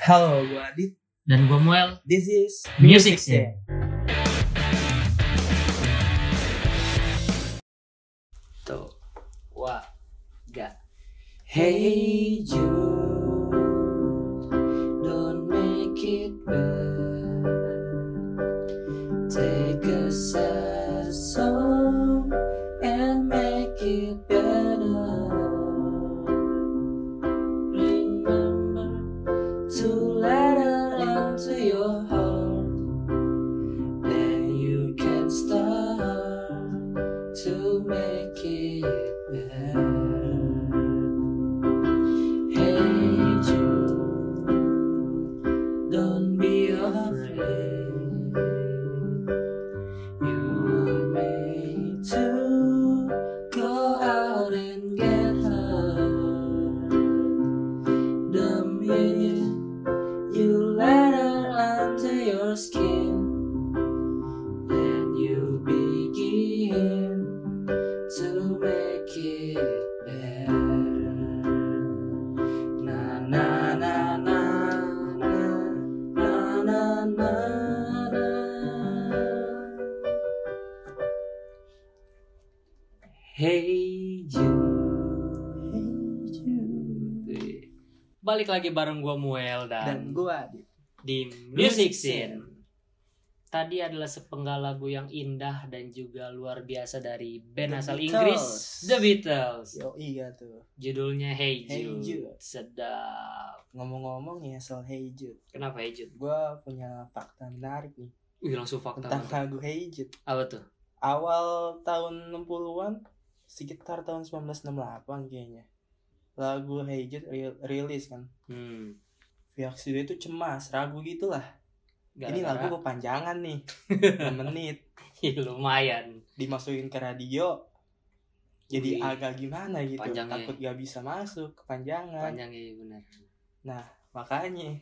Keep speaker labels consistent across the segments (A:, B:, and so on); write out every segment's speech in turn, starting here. A: Halo, gue Adit.
B: dan gue Muel
A: This is
B: Music Scene.
A: Tuh, wah, gak. Hey Jude, don't make it bad. Take a sad song and make it better. Remember to let her into your heart. Then you can start to make it better. Hey Jude, don't be afraid. You were made to go out and get her. The minute you let her under your skin. Then you begin to make it better. Na na na na na na na na. na. Hey Jude.
B: balik lagi bareng gue Muel
A: Dan
B: dan,
A: gua di
B: di Music Scene tadi adalah sepenggal lagu yang indah dan juga luar biasa dari band
A: The
B: asal
A: Beatles.
B: Inggris The Beatles
A: Yo iya tuh.
B: judulnya Hey
A: Hey
B: Jude,
A: Jude.
B: sedap
A: Ngomong-ngomong nih soal Hey Jude,
B: kenapa Hey Jude?
A: gua punya fakta menarik nih
B: Wih langsung fakta
A: tentang
B: apa tuh?
A: lagu Hey Jude.
B: Apa tuh?
A: awal tahun 60-an sekitar tahun 1968 kayaknya lagu Hey Jude ril- rilis kan
B: Hmm,
A: pihak studio itu cemas ragu gitulah ini lagu
B: gara-gara
A: kepanjangan nih 6 menit
B: lumayan
A: dimasukin ke radio jadi
B: Wih.
A: agak gimana gitu
B: Panjang ya.
A: takut gak bisa masuk kepanjangan
B: panjang ya benar
A: makanya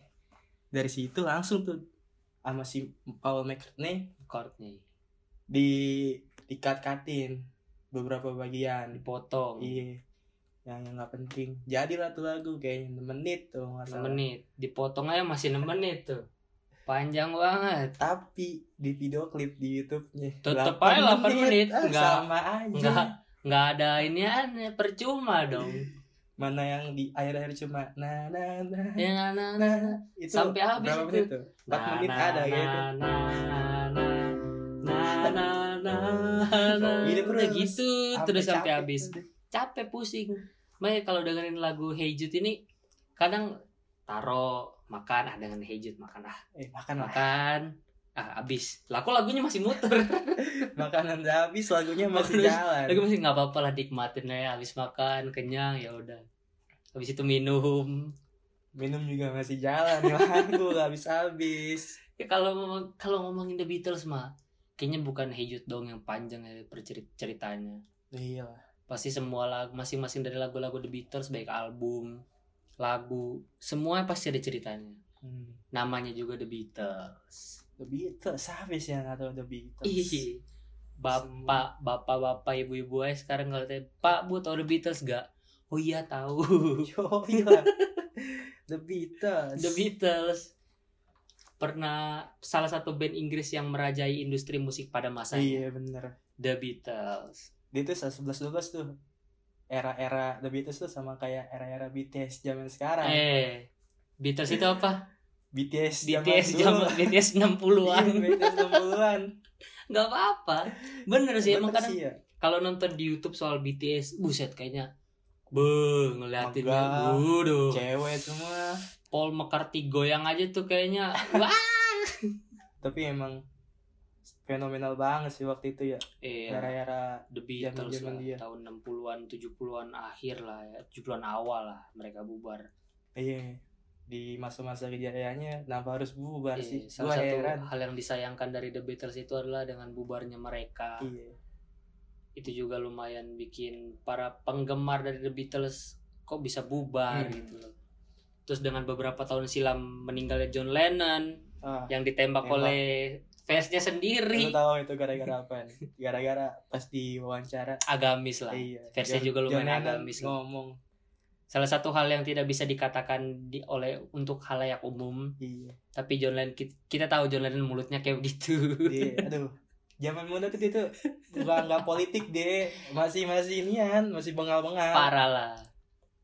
A: dari situ langsung tuh sama si Paul McCartney
B: chordnya
A: di dikat-katin beberapa bagian
B: dipotong
A: Iya. Yang yang nggak penting. Jadilah tuh lagu kayaknya 6 menit tuh nggak
B: 6
A: salah.
B: menit dipotong aja masih 6 menit tuh panjang banget
A: Tapi di video klip di YouTube-nya
B: Tetep
A: delapan
B: aja delapan menit.
A: Ah,
B: Nggak-
A: sama aja.
B: nggak nggak ada ini aneh percuma dong
A: Mana yang di akhir-akhir cuma na na na
B: ya na na
A: na
B: na
A: itu
B: Sampai habis
A: berapa
B: itu. Nah,
A: menit tuh? 4
B: Na,
A: menit
B: na,
A: ada
B: na,
A: gitu.
B: na na na na na na
A: Gitu
B: udah
A: terus.
B: gitu terus sampai
A: capek.
B: habis capek pusing Makanya kalau dengerin lagu Hey Jude ini kadang taro makan ah dengan Hey Jude makan ah
A: Eh, makan lah.
B: makan ah abis lah kok lagunya masih muter
A: Makanan udah habis lagunya masih
B: Terus,
A: jalan.
B: Tapi masih nggak apa-apa lah nikmatin aja habis makan kenyang ya udah. Habis itu minum.
A: Minum juga masih jalan lagu nggak habis-habis.
B: Ya kalau ngomong- kalau ngomongin The Beatles mah kayaknya bukan Hey Jude dong yang panjang ya percerit- ceritanya.
A: Iya lah.
B: Pasti semua lagu masing-masing dari lagu-lagu The Beatles baik album, lagu, semua pasti ada ceritanya.
A: Hmm.
B: Namanya juga The Beatles.
A: The Beatles, habis yang atau The Beatles.
B: Ih. Bapak, bapak-bapak, ibu-ibu aja sekarang kalau tanya, "Pak, Bu, tahu The Beatles gak?" Oh iya tahu.
A: Yo, iya. The Beatles.
B: The Beatles pernah salah satu band Inggris yang merajai industri musik pada masanya.
A: Iya bener.
B: The Beatles.
A: Dia tuh 11 12 tuh. Era-era The Beatles tuh sama kayak era-era BTS zaman sekarang.
B: Eh, Beatles itu apa?
A: BTS zaman
B: BTS
A: dulu.
B: zaman BTS 60-an.
A: Iya, BTS 60-an.
B: Gak apa-apa. Bener sih emang
A: Bener
B: kadang
A: sih ya.
B: kalau nonton di YouTube soal BTS, buset kayaknya Beuh, ngeliatin
A: Megang.
B: Waduh.
A: Cewek semua.
B: Paul McCartney goyang aja tuh kayaknya. Wah.
A: Tapi emang fenomenal banget sih waktu itu ya.
B: Iya.
A: Era-era
B: The Beatles lah,
A: Zaman-zaman dia.
B: tahun 60-an, 70-an akhir lah ya, 70-an awal lah mereka bubar.
A: iya di masa-masa kejayaannya kenapa harus bubar
B: Iya,
A: sih?
B: salah
A: Gua
B: satu
A: heran.
B: hal yang disayangkan dari The Beatles itu adalah dengan bubarnya mereka.
A: Iya.
B: Itu juga lumayan bikin para penggemar dari The Beatles kok bisa bubar
A: Hmm.
B: gitu loh. Terus dengan beberapa tahun silam meninggalnya John Lennon
A: Ah,
B: yang ditembak
A: Tembak.
B: oleh fansnya
A: lu
B: sendiri.
A: tahu itu gara-gara apa? Gara-gara pas diwawancara
B: Agamis lah.
A: Iya.
B: Versnya juga
A: Lennon
B: lumayan agamis lah.
A: ngomong
B: salah satu hal yang tidak bisa dikatakan di, oleh untuk halayak umum
A: Iya.
B: tapi John Lennon kita, kita tahu John Lennon mulutnya kayak gitu
A: Dia, aduh. Zaman muda tuh dia tuh nggak nggak politik deh. Masih masih nian, masih bengal-bengal.
B: parah lah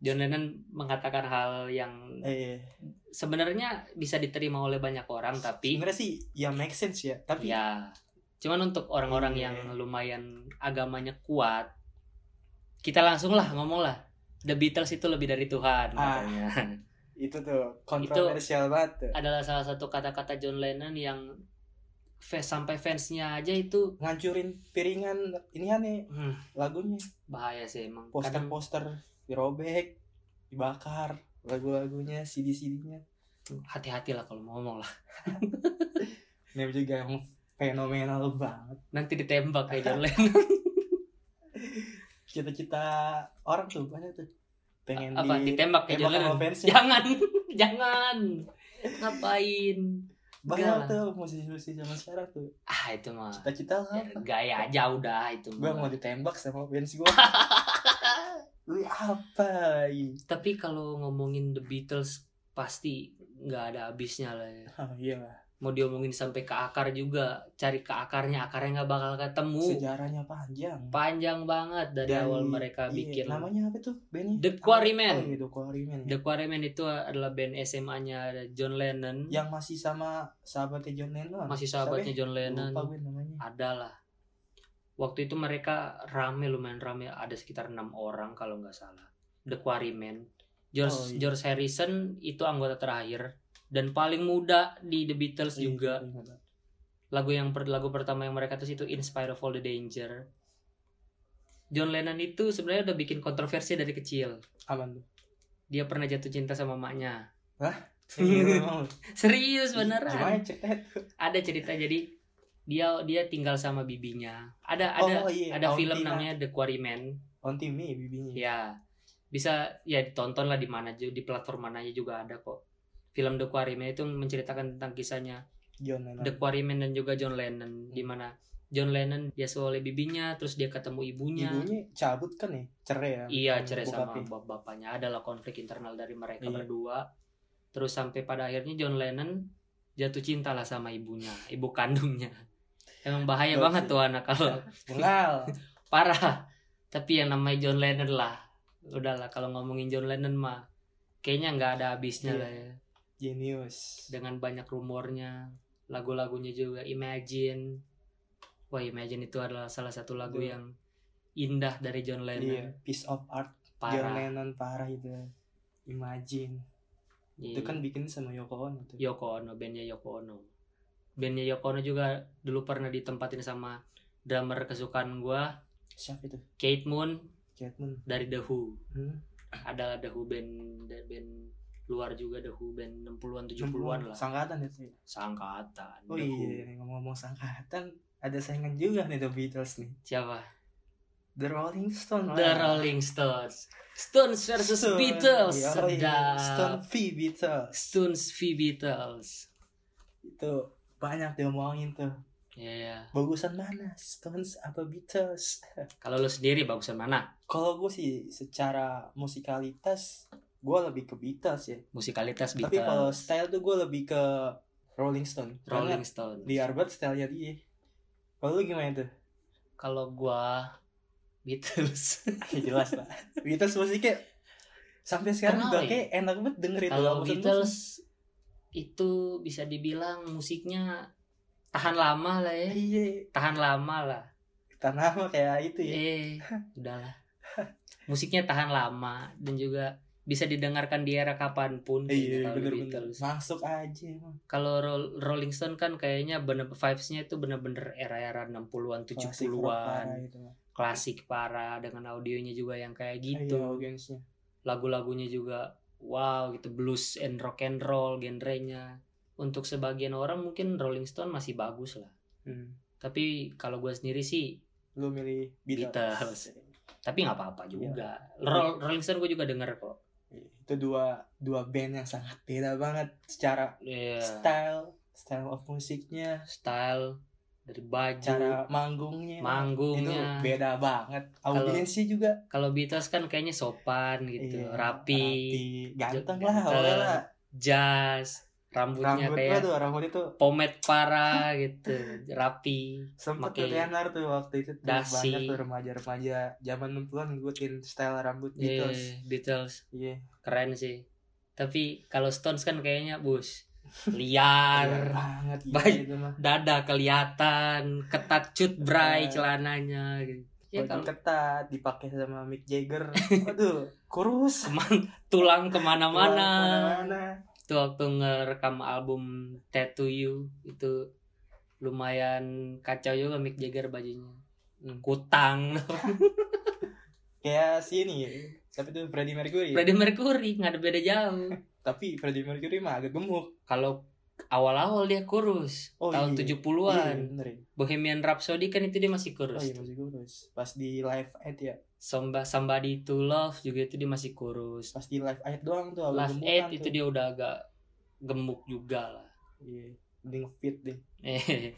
B: John Lennon mengatakan hal yang
A: Eh,
B: sebenarnya bisa diterima oleh banyak orang tapi
A: sebenarnya sih ya make sense ya. Tapi
B: ya cuman untuk orang-orang
A: Iya.
B: yang lumayan agamanya kuat kita langsung lah ngomong lah The Beatles itu lebih dari Tuhan
A: Ah.
B: katanya
A: itu tuh kontroversial banget. Tuh.
B: adalah salah satu kata-kata John Lennon yang fans sampai fansnya aja itu
A: Ngancurin piringan ini aneh
B: hmm,
A: lagunya.
B: bahaya sih emang kadang
A: Poster-poster dirobek, dibakar lagu-lagunya, CD-CD-nya.
B: hati-hatilah kalau mau ngomong lah
A: Ini juga yang fenomenal banget.
B: nanti ditembak kayak John Lennon
A: Cita-cita orang tuh banyak tuh pengen
B: apa
A: di
B: ditembak kayak John
A: tembak sama
B: Lennon
A: fansnya.
B: jangan jangan ngapain
A: Banyak
B: Enggak.
A: tuh musisi-musisi zaman sekarang tuh.
B: ah itu mah
A: Cita-cita lah.
B: ya, gaya aja udah itu
A: Gue
B: mah.
A: mau ditembak sama fans gue. Lu apa? ini?
B: tapi kalau ngomongin The Beatles pasti nggak ada habisnya lah ya.
A: Oh, iya lah.
B: mau diomongin sampai ke akar juga cari ke akarnya akarnya nggak bakal ketemu
A: Sejarahnya panjang.
B: panjang banget dari
A: Dan-
B: awal mereka
A: iya,
B: bikin
A: Namanya apa tuh bandnya?
B: The Quarrymen.
A: Oh, iya, The Quarrymen.
B: The Quarrymen itu adalah band SMA-nya John Lennon
A: Yang masih sama sahabatnya John Lennon.
B: masih sahabatnya John
A: Siapa Iya, ya?
B: Lennon
A: Lupa gue namanya.
B: adalah waktu itu mereka rame lumayan rame ada sekitar enam orang kalau nggak salah The Quarrymen George
A: Oh, iya.
B: George Harrison itu anggota terakhir dan paling muda di The Beatles
A: Iya,
B: juga
A: gue ingat.
B: lagu yang per- lagu pertama yang mereka tuh itu In Spite of All the Danger John Lennon itu sebenarnya udah bikin kontroversi dari kecil
A: Aman tuh.
B: dia pernah jatuh cinta sama maknya
A: Iya, emang lu.
B: serius
A: Gimana Eh,
B: beneran
A: ceritanya? tuh?
B: ada cerita jadi dia dia tinggal sama bibinya ada ada
A: oh, iya.
B: ada
A: Auntie
B: film
A: Ma-
B: namanya The Quarryman
A: Auntie Me bibinya.
B: ya bisa ya ditonton lah di mana ju- di platform mananya juga ada kok film The Quarryman itu menceritakan tentang kisahnya
A: John Lennon.
B: The Quarryman dan juga John
A: Hmm.
B: Lennon di mana John Lennon dia oleh bibinya terus dia ketemu ibunya
A: Ibunya cabut kan ya? Cerai ya?
B: iya cerai sama
A: bokapnya.
B: bap- bapaknya adalah konflik internal dari mereka
A: Iya.
B: berdua terus sampai pada akhirnya John Lennon jatuh cinta lah sama ibunya ibu kandungnya emang bahaya
A: Gokil.
B: banget tuh anak kalau
A: Bengal.
B: parah tapi yang namanya John Lennon lah udahlah kalau ngomongin John Lennon mah kayaknya nggak ada habisnya
A: Iya.
B: lah ya
A: Genius.
B: dengan banyak rumornya lagu-lagunya juga Imagine wah Imagine itu adalah salah satu lagu
A: Iya.
B: yang indah dari John
A: Iya,
B: Lennon
A: piece of art. John
B: parah
A: Lennon parah itu. Imagine.
B: Iya.
A: Itu kan bikin sama Yoko Ono tuh.
B: Yoko Ono bandnya Yoko Ono bandnya Yoko Ono juga dulu pernah ditempatin sama drummer kesukaan gua
A: Siapa itu?
B: Kate Moon
A: Catman.
B: dari The Who
A: Hmm?
B: adalah The Who band band luar juga The Who band 60-an 70-an lah
A: Sangkatan itu. ya?
B: seangkatan
A: Oh
B: The Who.
A: iya, ngomong-ngomong sangkatan ada saingan juga nih The Beatles nih.
B: siapa
A: The Rolling Stone.
B: The Rolling Stones Stones versus
A: Stone.
B: Beatles
A: Iya, oh iya.
B: sedap
A: Stone v Beatles.
B: Stones v Beatles
A: Itu banyak diomongin tuh.
B: ya ya.
A: Bagusan mana? Stones apa Beatles?
B: kalau lu sendiri bagusan mana
A: Kalau gue sih secara musikalitas gue lebih ke Beatles ya.
B: musikalitas
A: Tapi
B: Beatles
A: kalau style tuh gue lebih ke Rolling Stone.
B: Rolling Stones
A: Karena liar banget stylenya dia. Kalau lu gimana tuh?
B: kalau gua Beatles
A: Ya jelas lah. Beatles musiknya sampai sekarang
B: Kenal
A: udah
B: ya?
A: kayak enak banget dengerin
B: kalau
A: Walaupun
B: Beatles itu bisa dibilang musiknya tahan lama lah ya
A: Iya,
B: tahan lama lah
A: tanah mah kayak itu ya.
B: eh udahlah musiknya tahan lama dan juga bisa didengarkan di era kapanpun kayaknya
A: Iya,
B: kalau The
A: bener-bener.
B: Beatles.
A: Masuk aja emang.
B: Kalau Ro- Rolling Stone kan kayaknya bener vibes-nya itu bener-bener era-era 60-an,
A: Klasik rock
B: 70-an,
A: parah itu. mah.
B: klasik parah dengan audionya juga yang kayak
A: Iya,
B: gitu.
A: audiensnya.
B: Lagu-lagunya juga wow gitu blues and rock and roll genrenya. Untuk sebagian orang mungkin Rolling Stone masih bagus lah.
A: Hmm.
B: Tapi kalau gue sendiri sih
A: Lu milih Beatles.
B: Beatles. tapi nggak apa-apa
A: Iya.
B: juga. Ro- Rolling Stone gue juga denger kok.
A: Itu dua dua band yang sangat beda banget secara
B: Iya.
A: style, style of musiknya.
B: style dari baju
A: cara manggungnya itu
B: manggungnya
A: beda banget audiensnya juga
B: kalau Beatles kan kayaknya sopan gitu
A: Iya,
B: rapi,
A: rapi. ganteng lah awalnya lah
B: jas rambutnya
A: rambut
B: kayak
A: gua tuh rambut itu
B: pomade parah gitu rapi
A: sempet
B: Pakai
A: tuh Leonard tuh waktu itu tuh
B: dasi.
A: banyak tuh remaja-remaja zaman 60-an ngikutin style rambut
B: Iya,
A: Beatles
B: Beatles
A: iya
B: keren sih tapi kalau Stones kan kayaknya bus
A: keren
B: liar
A: Iya banget gila
B: Baik.
A: itu mah
B: dada kelihatan ketat cut bray
A: Ketat.
B: celananya gitu ya
A: baju
B: kalau
A: ketat dipakai sama Mick Jagger aduh kurus
B: kemang- tulang kemana-mana
A: Kemana-mana.
B: itu waktu ngerekam album Tattoo You itu lumayan kacau juga Mick Jagger bajunya Hmm, kutang
A: kayak si ini tapi tuh Freddie Mercury
B: Freddie Mercury nggak ada beda jauh
A: tapi Freddie Mercury mah agak gemuk
B: kalau awal-awal dia kurus
A: Oh,
B: tahun
A: iya.
B: 70-an
A: Iya, bener ya.
B: Bohemian Rhapsody kan itu dia masih kurus
A: oh iya masih kurus pas di live aid ya
B: Somba, Somebody to Love juga itu dia masih kurus
A: pas di live aid doang Oh, kan tuh agak
B: Last
A: gemukan
B: Eight itu dia udah agak gemuk juga lah
A: iya mending fit deh
B: Eh,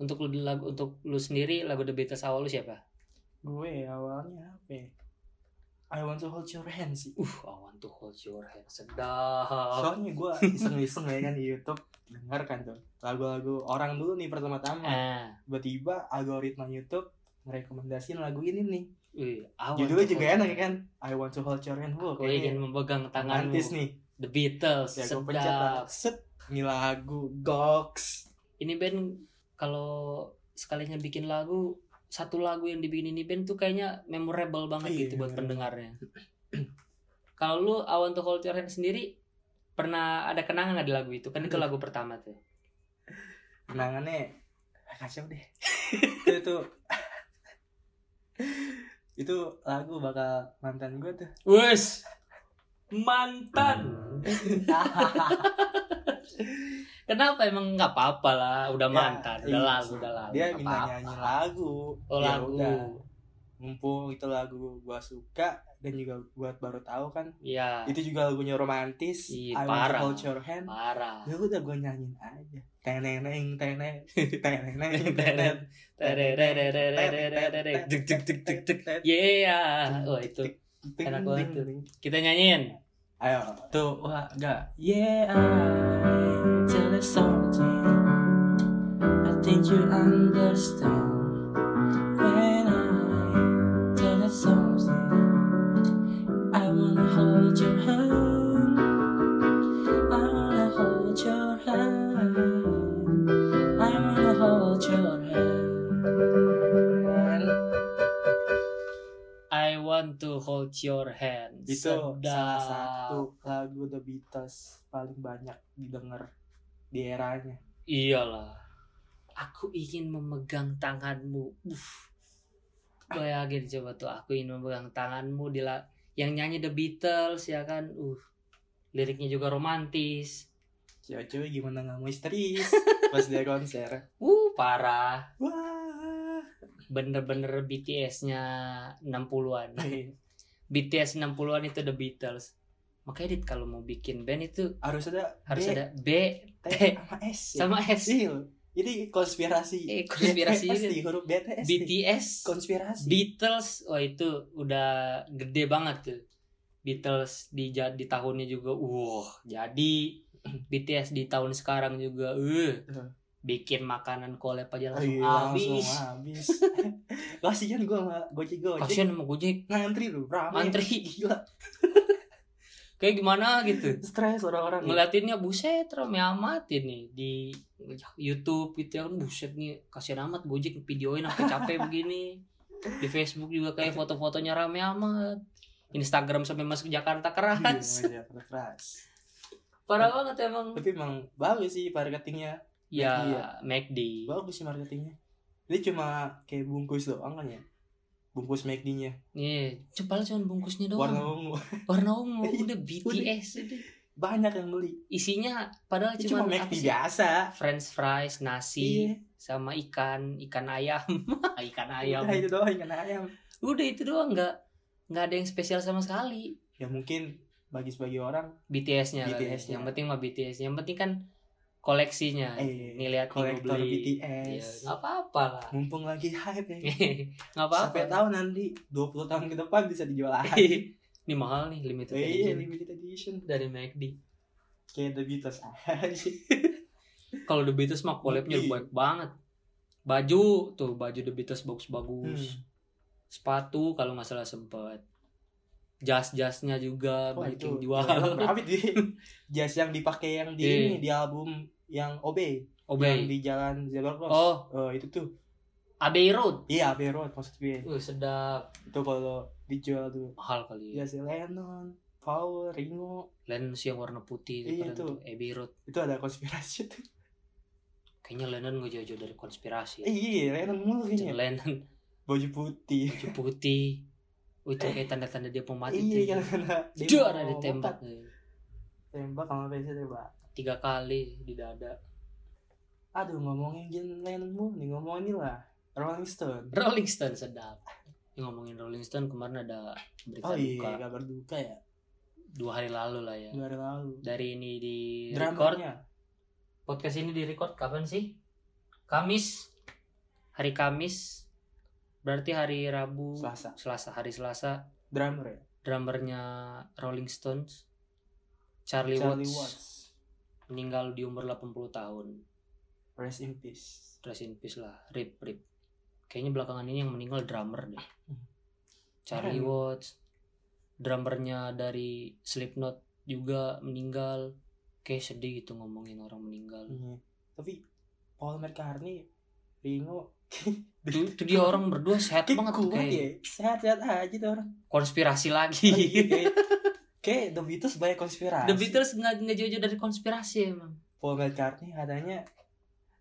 B: untuk lu lagu untuk lu sendiri lagu The Beatles awal lu siapa?
A: gue awalnya apa ya? I want to hold your hand sih
B: Uh, I want to hold your hand sedap.
A: soalnya gue iseng-iseng ya kan di YouTube denger kan tuh lagu-lagu orang dulu nih pertama-tama
B: Ah,
A: tiba-tiba algoritma YouTube merekomendasiin lagu ini nih
B: wih, I want
A: judulnya
B: to
A: juga
B: hold
A: enak
B: your
A: ya kan I want to hold your hand Wah,
B: hand. Gua ingin
A: kayaknya
B: memegang tanganmu.
A: romantis nih
B: The Beatles
A: ya gue pencet lah.
B: sedap.
A: set ini lagu goks
B: Ini band kalau sekalinya bikin lagu satu lagu yang dibikin ini band tuh kayaknya memorable banget
A: Iya,
B: gitu buat
A: memorable.
B: pendengarnya. kalau lu I want to hold your hand sendiri pernah ada kenangan nggak di lagu itu? Kan itu lagu pertama tuh.
A: kenangannya ah, kacau deh itu tuh itu lagu bakal mantan gue tuh
B: Wes
A: Kan?
B: mantan. Kenapa emang nggak apa-apa lah, udah
A: Ya,
B: mantan,
A: iya
B: udah lalu,
A: sih.
B: udah lalu.
A: dia
B: nggak
A: minta
B: apa-apa.
A: nyanyi lagu
B: Oh,
A: Ya
B: lagu.
A: udah. mumpung itu gitu lagu gue suka dan juga buat baru tahu kan
B: Iya.
A: itu juga lagunya romantis
B: Iya,
A: I want to
B: parah.
A: hold your hand
B: Parah.
A: ya udah gue nyanyiin aja teneng teneng teneng teneng teneng teneng
B: Tererererererererere. Jek, jek, jek, jek, jek. Yeah. Oh itu Enak banget tuh. kita nyanyiin.
A: Ayo, tuh, wah, enggak. Yeah, I tell you something. I think you understand when I tell you something. I wanna hold your hand. I wanna hold your hand. I wanna hold your hand.
B: I want to hold your hand.
A: itu salah
B: Sedap.
A: satu lagu The Beatles paling banyak didengar di eranya
B: Iyalah. Aku ingin memegang tanganmu. Uff. Bayangin coba tuh aku ingin memegang tanganmu di la- yang nyanyi The Beatles ya kan. Uh. Liriknya juga romantis.
A: cewek-cewek gimana nggak mau histeris pas dia konser
B: Uh, parah.
A: wah
B: Bener-bener BTS-nya 60-an. BTS 60-an itu The Beatles. Makanya Dit kalau mau bikin band itu
A: harus ada
B: harus
A: B,
B: ada B
A: T
B: T.
A: sama S ya.
B: sama S.
A: Iya loh. jadi konspirasi
B: Eh, konspirasi
A: BTS
B: ini.
A: nih, huruf BTS nih.
B: BTS
A: konspirasi
B: Beatles, oh itu udah gede banget tuh. Beatles di ja- di tahunnya juga, wah jadi BTS di tahun sekarang juga, uh,
A: Heeh.
B: bikin makanan collab
A: Oh
B: aja langsung
A: iya,
B: habis.
A: habis kasihan gue sama gojek gojek
B: Kasian sama Gojek,
A: ngantri lu rame
B: Ngantri.
A: ah. gila
B: kayak gimana gitu.
A: stres orang-orang
B: Ngeliatinnya buset rame amat ini di YouTube gitu ya kan buset nih kasihan amat Gojek videoin sampai capek begini. Di Facebook juga kayak foto-fotonya rame amat. Instagram sampai masuk Jakarta
A: Iya,
B: keras.
A: iya, keras
B: Parah banget emang.
A: tapi emang bagus sih marketingnya
B: Ya, McD.
A: bagus sih marketingnya dia cuma kayak bungkus doang kan ya bungkus McD-nya
B: Iya, coba cuma bungkusnya doang.
A: warna ungu
B: Warna ungu
A: Iya,
B: udah BTS udah.
A: banyak yang beli
B: Isinya padahal
A: itu
B: cuma
A: cuma McD
B: Ah, sih?
A: biasa
B: French fries, nasi,
A: Iya.
B: sama ikan, ikan ayam, ikan ayam.
A: Udah, itu doang ikan ayam
B: Udah itu doang nggak nggak ada yang spesial sama sekali
A: ya mungkin bagi sebagian orang
B: BTS-nya. kali.
A: BTS-nya.
B: Yang penting mah BTS. Yang penting kan koleksinya
A: Eh,
B: nih lihat nih gue
A: kolektor
B: beli Iya,
A: BTS.
B: nggak apa-apa lah
A: Mumpung lagi hype ya.
B: nggak apa-apa Iya,
A: Sampai tahu nanti 20 tahun ke depan bisa dijual lagi.
B: ini mahal nih
A: Eh,
B: limited
A: Iya,
B: edition
A: limited edition.
B: dari McD
A: Kayak The Beatles aja.
B: kalau The Beatles mah collabnya
A: Iya.
B: baik banget baju tuh baju The Beatles bagus bagus
A: Hmm.
B: sepatu kalau nggak salah sempet jas-jasnya juga
A: Wah,
B: banyak
A: Oh, itu
B: yang
A: jual
B: jual
A: berapa itu? Jas yang dipakai yang di
B: Iya.
A: ini di album yang OB, yang
B: Obey
A: di jalan Zebra Cross.
B: oh
A: Eh, itu tuh.
B: Abbey Road
A: Iya, Abbey Road maksud gue.
B: uh, sedap
A: Itu kalau dijual tuh.
B: mahal kali ya
A: Jas Lennon, Paul, Ringo.
B: Lennon sih yang warna putih
A: Iya,
B: keren
A: tuh.
B: tuh Abbey Road
A: Itu ada konspirasi tuh.
B: kayaknya Lennon gak jauh-jauh dari konspirasi
A: Eh, iya, Lennon mulu
B: Ceng
A: kayaknya.
B: Lennon
A: Baju putih.
B: baju putih Oh, itu kayak tanda-tanda dia mau mati tuh.
A: Iya, yang kena demo
B: Juara ditembak
A: Tembak sama PC tembak.
B: tiga kali di dada.
A: Aduh, ngomongin John Lennon mulu nih, ngomongin lah. Rolling Stone.
B: Rolling Stone sedap. Ini ngomongin Rolling Stone kemarin ada
A: Oh
B: berita duka
A: iya, kabar duka ya.
B: dua hari lalu lah ya.
A: Dua hari lalu.
B: Dari ini di record
A: Dramanya.
B: podcast ini di record kapan sih? Kamis. Hari Kamis. Berarti hari Rabu.
A: Selasa.
B: hari Selasa.
A: Drummer ya.
B: Drummernya Rolling Stones Charlie,
A: Charlie
B: Watts,
A: Watts.
B: meninggal di umur 80 tahun.
A: Rest in peace.
B: Rest in peace lah, rip rip. Kayaknya belakangan ini yang meninggal drummer deh. Charlie
A: Keren.
B: Watts, drummernya dari Slipknot juga meninggal. Kayak sedih gitu ngomongin orang meninggal.
A: Iya. Tapi Paul McCartney, Ringo,
B: Itu, itu dia orang berdua sehat
A: kayak
B: banget tuh,
A: kuat
B: kayak
A: ya. Sehat-sehat aja tuh orang.
B: konspirasi lagi.
A: Oh, iya, kayak- Kayak The Beatles banyak konspirasi.
B: The Beatles nggak nggak jauh-jauh dari konspirasi emang.
A: Paul McCartney katanya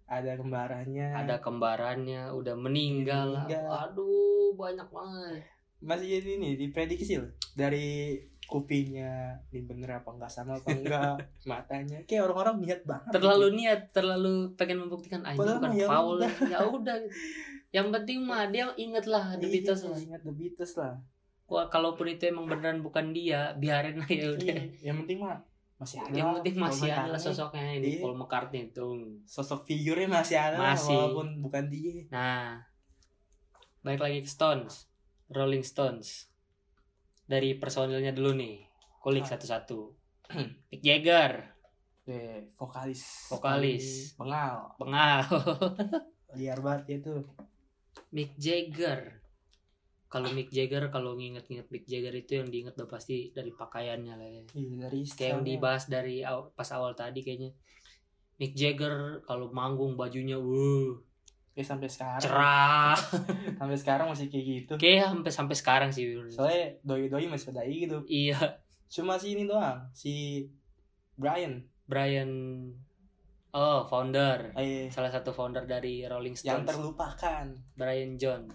A: ada kembarannya.
B: Ada kembarannya, udah meninggal.
A: Ya. Meninggal.
B: Aduh, banyak banget.
A: masih jadi ini diprediksi loh dari kupingnya ini bener apa enggak sama apa enggak matanya kayak orang-orang niat banget
B: Terlalu niat, terlalu pengen membuktikan ah, ini
A: Padahal
B: bukan
A: mah ya
B: Paul.
A: udah.
B: Ya udah. Yang penting mah dia inget lah The Beatles
A: lah
B: lah.
A: ingat Iya, The Beatles lah
B: Wah, kalaupun itu emang beneran bukan dia, biarin lah ya udah.
A: Iya, yang penting mah masih ada
B: Yang penting
A: Paul
B: masih ada
A: McCartney.
B: lah sosoknya ini
A: Iya.
B: Paul McCartney tuh.
A: sosok figurnya masih ada lah,
B: Masih.
A: walaupun bukan dia
B: Nah, balik lagi ke Stones, Rolling Stones. Dari personilnya dulu nih, kulik
A: Ah.
B: satu-satu. Mick Jagger,
A: Eh, vokalis
B: Vokalis.
A: pengal
B: pengal.
A: liar banget dia tuh
B: Mick Jagger. Kalau Mick Jagger, kalau nginget-nginget Mick Jagger itu yang diinget udah pasti dari pakaiannya lah ya.
A: Iya, dari
B: kayak yang
A: stylenya.
B: dibahas dari aw- pas awal tadi kayaknya Mick Jagger kalau manggung bajunya wuh
A: Kayak sampai sekarang
B: cerah
A: sampai sekarang masih kayak gitu
B: kayak sampai sampai sekarang sih Wil.
A: soalnya doi doi masih ada gitu
B: iya
A: cuma si ini doang si Brian
B: Brian oh founder
A: eh,
B: salah satu founder dari Rolling
A: yang
B: Stones
A: terlupakan
B: Brian John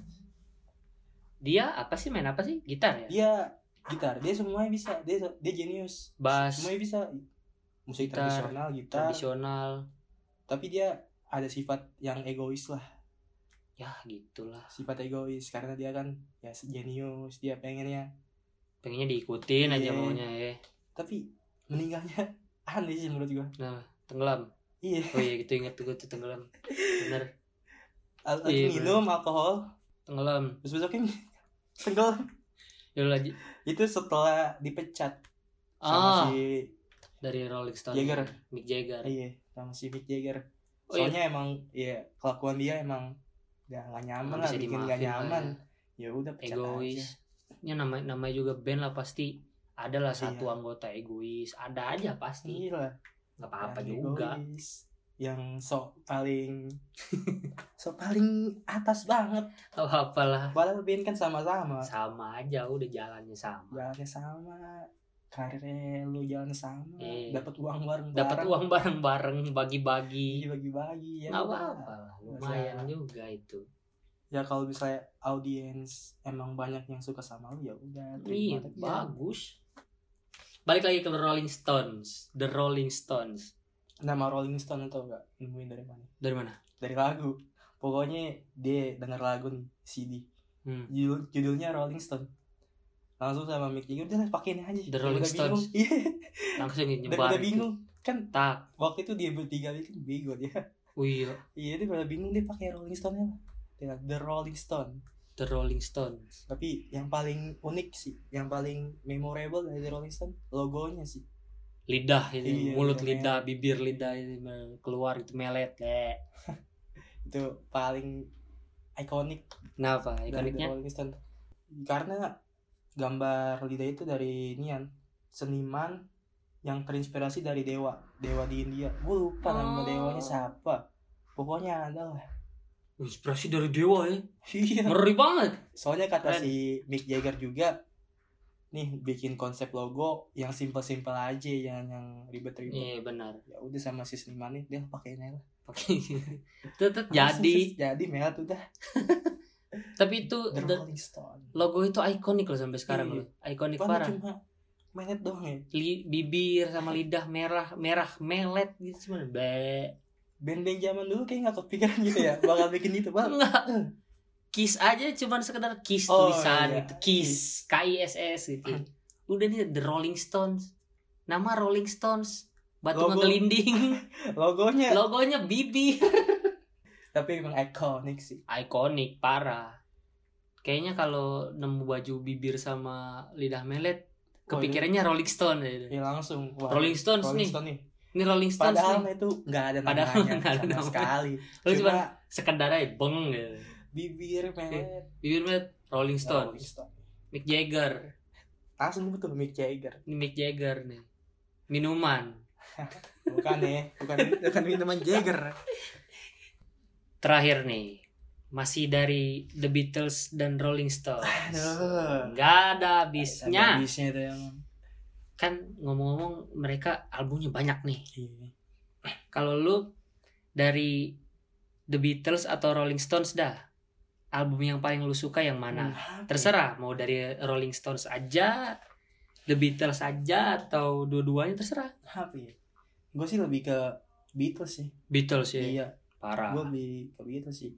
B: dia apa sih main apa sih gitar ya
A: dia gitar dia semuanya bisa dia dia jenius
B: bass
A: semuanya bisa musik
B: Gitar,
A: tradisional gitar
B: tradisional
A: tapi dia ada sifat yang egois lah
B: ya gitulah
A: sifat egois karena dia kan ya jenius dia pengennya
B: pengennya diikutin
A: Iya.
B: aja maunya ya
A: tapi meninggalnya aneh sih menurut gua
B: nah tenggelam
A: iya
B: oh iya gitu inget tuh gue tuh tenggelam bener
A: al-
B: Iya,
A: lagi minum alkohol
B: tenggelam Ya
A: terus besoknya tenggelam
B: Yaudah,
A: itu setelah dipecat
B: ah
A: sama si
B: dari Rolling Stone
A: Jagger.
B: Mick Jagger
A: iya sama si Mick Jagger
B: Oh, iya.
A: soalnya emang ya kelakuan dia emang ya nggak nyaman
B: Nggak
A: lah
B: bisa
A: bikin
B: dimaafin
A: nggak
B: lah
A: nyaman ya
B: ya.
A: udah pecat
B: egois
A: aja
B: ya nama namanya juga band lah pasti adalah satu
A: Iya.
B: anggota egois ada aja pasti
A: Iya lah
B: nggak apa-apa
A: yang
B: juga
A: egois, yang sok paling sok paling atas banget
B: nggak apa-apalah
A: padahal band kan sama-sama
B: sama aja udah jalannya sama
A: jalannya sama karirnya lu jalan sama
B: Iya.
A: dapat uang bareng
B: dapat uang bareng-bareng bagi-bagi
A: bagi-bagi ya
B: nggak
A: udah.
B: apa-apa lah, lumayan
A: Masalah.
B: juga itu
A: ya kalau misalnya audiens emang banyak yang suka sama lu ya udah terima
B: iya
A: tapi ya
B: bagus balik lagi ke Rolling Stones The Rolling Stones
A: nama Rolling Stone atau enggak nemuin dari mana
B: dari mana
A: dari lagu pokoknya dia denger lagu nih CD
B: hmm.
A: Judul- judulnya Rolling Stone langsung sama Mick Jagger udah lah pakai ini aja
B: The Rolling
A: Udah bingung.
B: Stones.
A: iya
B: langsung
A: udah,
B: nyebar
A: udah
B: itu.
A: bingung Kan
B: tak
A: waktu itu dia bertiga ini kan bego dia.
B: oh iya
A: Iya, dia pada bingung dia pakai Rolling Stone-nya lah. Dengan The Rolling Stone.
B: The Rolling Stones
A: Tapi yang paling unik sih, yang paling memorable dari The Rolling Stone logonya sih.
B: lidah ini
A: Iya,
B: mulut
A: iya,
B: lidah bibir lidah ini me- keluar itu melet le.
A: Itu paling ikonik
B: kenapa
A: dari The
B: ikoniknya
A: Rolling Stone. Karena gambar lidah itu dari Nian, seniman yang terinspirasi dari dewa, dewa di India. Gue lupa nama
B: Oh.
A: dewanya siapa. Pokoknya ada lah.
B: inspirasi dari dewa ya
A: Iya.
B: ngeri banget
A: Soalnya kata
B: Keren.
A: si Mick Jagger juga nih bikin konsep logo yang simple-simple aja yang yang ribet-ribet.
B: iya benar
A: Ya udah sama si seniman nih dia pakainya lah.
B: pakai tetap jadi
A: jadi merah tuh dah.
B: tapi itu
A: The
B: the-
A: Rolling Stone.
B: logo itu ikonik loh sampai sekarang
A: Iya.
B: loh ikonik
A: Padahal
B: parah
A: cuma menet doang ya.
B: Li- bibir sama lidah merah merah melet gitu cuman be
A: Band-band zaman dulu kayak nggak kepikiran gitu ya bakal bikin itu bang.
B: enggak kiss aja cuman sekedar kiss
A: Oh,
B: tulisan
A: iya. Hmm.
B: gitu kiss k i s s gitu udah nih the Rolling Stones nama Rolling Stones batu
A: Logo.
B: ngegelinding
A: Logonya.
B: logonya bibi
A: Tapi emang ikonik sih.
B: ikonik parah kayaknya kalau nemu baju bibir sama
A: Oh,
B: lidah melet
A: Wah, ini-
B: kepikirannya Rolling Stone ya.
A: Ya langsung. Wah,
B: Rolling Stones
A: iya. Rolling
B: nih.
A: Stone nih.
B: ini Rolling Stones
A: Padahal
B: nih
A: itu nggak ada namanya
B: Padahal nggak ada
A: sama
B: namanya.
A: sekali.
B: Lu
A: Cuma
B: cuman sekedar aja beng gitu.
A: bibir melet.
B: bibir melet Rolling
A: Iya, Rolling
B: Stones
A: Stone.
B: Mick Jagger
A: Langsung gitu, tuh Mick Jagger.
B: ini Mick Jagger nih minuman
A: Bukan ya, bukan bukan minuman Jagger.
B: terakhir nih masih dari The Beatles dan Rolling Stones
A: Aduh.
B: nggak ada
A: Ada
B: habisnya
A: Bisnya itu yang
B: kan ngomong-ngomong mereka albumnya banyak nih
A: Iya.
B: kalau lu dari The Beatles atau Rolling Stones dah album yang paling lu suka yang mana
A: Hmm, apa ya?
B: terserah mau dari Rolling Stones aja The Beatles aja atau dua-duanya terserah
A: Apa ya? Gue sih lebih ke Beatles sih.
B: Beatles ya
A: Iya,
B: parah
A: gue lebih ke Beatles sih.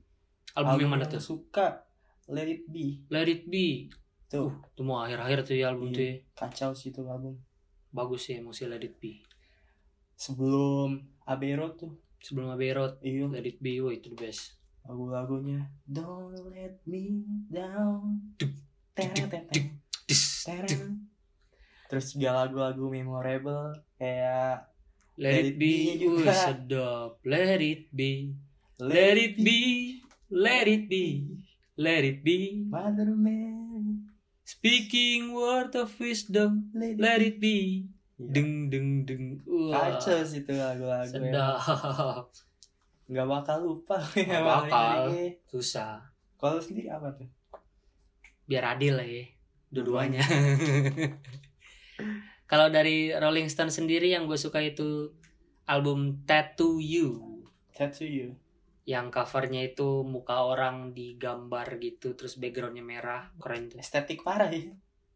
B: album yang mana
A: yang
B: tuh
A: Suka Let It Be.
B: Let It Be
A: Tuh,
B: tuh mau akhir-akhir tuh ya album
A: Iya.
B: tuh ya.
A: kacau sih itu album.
B: bagus sih emosi Let It Be
A: Sebelum Abbey Road tuh,
B: sebelum Abbey Road
A: iya
B: Let It Be woy, itu the best
A: lagu-lagunya Don't Let Me Down.
B: Dup,
A: Tereng,
B: dup,
A: tereng,
B: dup,
A: tereng,
B: Dis,
A: tereng. Terus juga lagu-lagu memorable kayak
B: Let, It Be woy,
A: juga.
B: sedap Let It Be Let It Be Let It Be Let It Be
A: Mother Mary,
B: Speaking word of wisdom
A: let it,
B: Let It Be
A: Iya.
B: Deng deng deng Wah,
A: Kacau sih itu lagu-lagu emang.
B: Sedap
A: Nggak bakal lupa
B: Nggak
A: emang.
B: bakal. Susah
A: Kalau lu sendiri apa tuh?
B: Biar adil lah ya Dua-duanya Kalau dari Rolling Stone sendiri yang gue suka itu Album Tattoo You
A: Tattoo You
B: yang covernya itu muka orang digambar gitu terus backgroundnya merah keren tuh
A: Estetik parah ya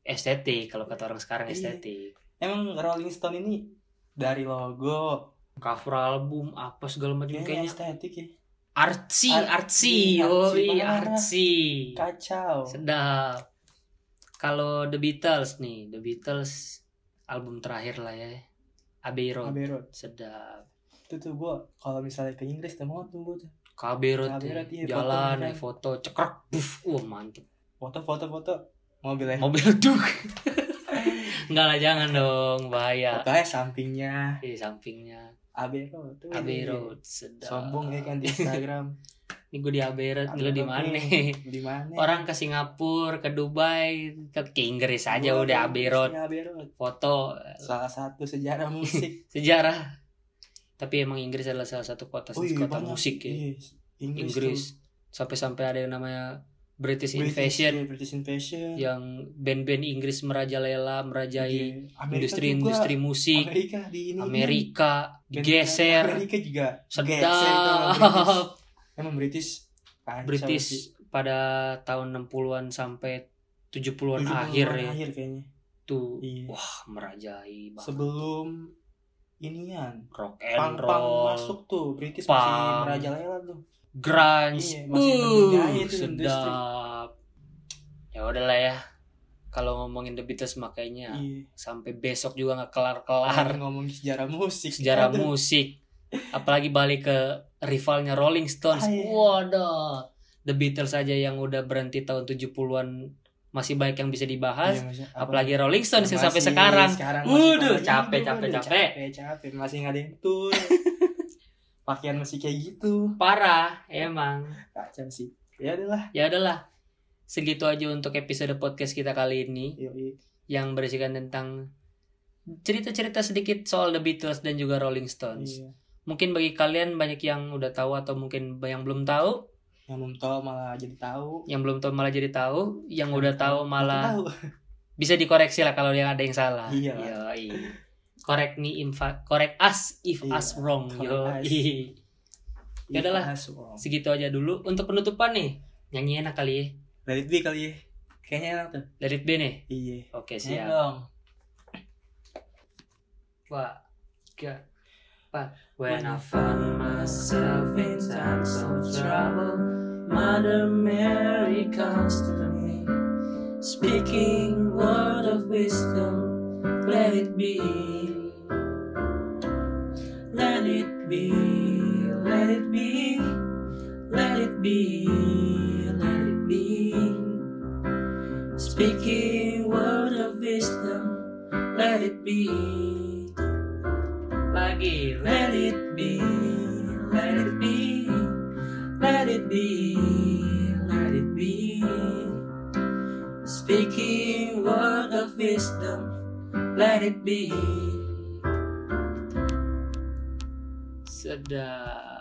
B: estetik kalau kata orang sekarang
A: Iya.
B: estetik
A: Emang Rolling Stone ini Dari logo
B: cover album apa segala macam
A: Kayaknya
B: kayaknya
A: estetik ya
B: artsy
A: Ar-
B: artsy
A: iya, artsy
B: yoi
A: parah.
B: artsy
A: Kacau
B: sedap kalau The Beatles nih The Beatles album terakhir lah ya Abbey Road
A: Abbey Road
B: sedap
A: Itu tuh gue Kalau misalnya ke Inggris tuh mau tunggu tuh
B: Ke Abbey Road,
A: Abbey
B: nih,
A: Road, iya,
B: jalan
A: foto-foto.
B: naik foto cekrek buff wah mantep
A: Foto-foto-foto Mobilnya
B: mobil duk enggak lah jangan dong bahaya
A: Fotonya sampingnya
B: di sampingnya
A: Abbey Road tuh
B: Abbey Road sedap
A: Iya, Sombong ya kan di Instagram
B: ini gue di Abbey Road
A: Abbey
B: lu di
A: Road iya.
B: mana
A: nih, Di mana
B: orang ke Singapura ke Dubai ke ke Inggris aja udah Abbey Road
A: Iya, Abbey Road.
B: foto
A: Salah satu sejarah musik.
B: sejarah tapi emang Inggris adalah salah satu kota
A: Oh iya,
B: kota
A: banyak.
B: musik ya
A: Iya, Inggris. tuh.
B: Inggris sampai-sampai ada yang namanya British,
A: British,
B: Invasion
A: iya, British Invasion.
B: yang band-band Inggris merajalela merajai
A: Iya. Amerika
B: industri-industri
A: juga.
B: musik
A: Amerika di ini. kan.
B: Amerika digeser
A: Amerika juga. geser itu sama British.
B: sedap
A: Emang British. kacau sih.
B: British pada tahun 60-an sampai 70-an
A: 70-an
B: akhir ya
A: akhir kayaknya.
B: tuh
A: Iya.
B: wah merajai banget
A: Sebelum inian.
B: rock
A: Pang
B: and
A: pang
B: roll
A: masuk tuh. British masih
B: Punk.
A: merajalela tuh.
B: grunge Uh,
A: Iya, masih
B: Wuh,
A: ngebunyai itu industri.
B: sedap ya udahlah ya kalau ngomongin The Beatles makanya
A: Iya.
B: sampai besok juga nggak kelar-kelar
A: Ngomongin sejarah musik.
B: sejarah
A: Aduh.
B: musik apalagi balik ke rivalnya Rolling Stones
A: Ah, iya.
B: waduh The Beatles aja yang udah berhenti tahun 70-an masih banyak yang bisa dibahas
A: Iya, masih-
B: apalagi Rolling Stones yang sampai
A: Masih
B: sekarang
A: sekarang masih pada-
B: Waduh, capek,
A: Aduh,
B: capek,
A: aduh,
B: capek.
A: capek capek masih nggak ada yang tur pakaian masih kayak gitu
B: parah emang
A: kacau sih ya adalah
B: ya adalah segitu aja untuk episode podcast kita kali ini
A: Yoi.
B: yang berisikan tentang cerita-cerita sedikit soal The Beatles dan juga Rolling Stones
A: iya.
B: mungkin bagi kalian banyak yang udah tahu atau mungkin yang belum tahu
A: yang belum tahu malah jadi tahu
B: yang belum tahu malah jadi tahu yang
A: Iya.
B: udah tahu malah
A: tahu
B: bisa dikoreksi lah kalau yang ada yang salah.
A: Iya.
B: Yoi. Correct me if correct us if
A: Iya,
B: us wrong.
A: correct us.
B: Yoi. Ya adalah.
A: Iya, langsung.
B: Segitu aja dulu untuk penutupan nih. Nyanyi enak kali ya.
A: Let it be kali ya kayaknya enak tuh
B: Let it be nih.
A: iya Nyanyi
B: Oke, siap.
A: dong
B: Pak. Gak. Pak. When I found myself in times of trouble, Mother Mary comes to me, speaking word of wisdom, let it be. Let it be, let it be, let it be, let it be. Speaking word of wisdom, let it be. Lagi, let it be, let it be. Let it be, let it be. Speaking word of wisdom, let it be. Sedap.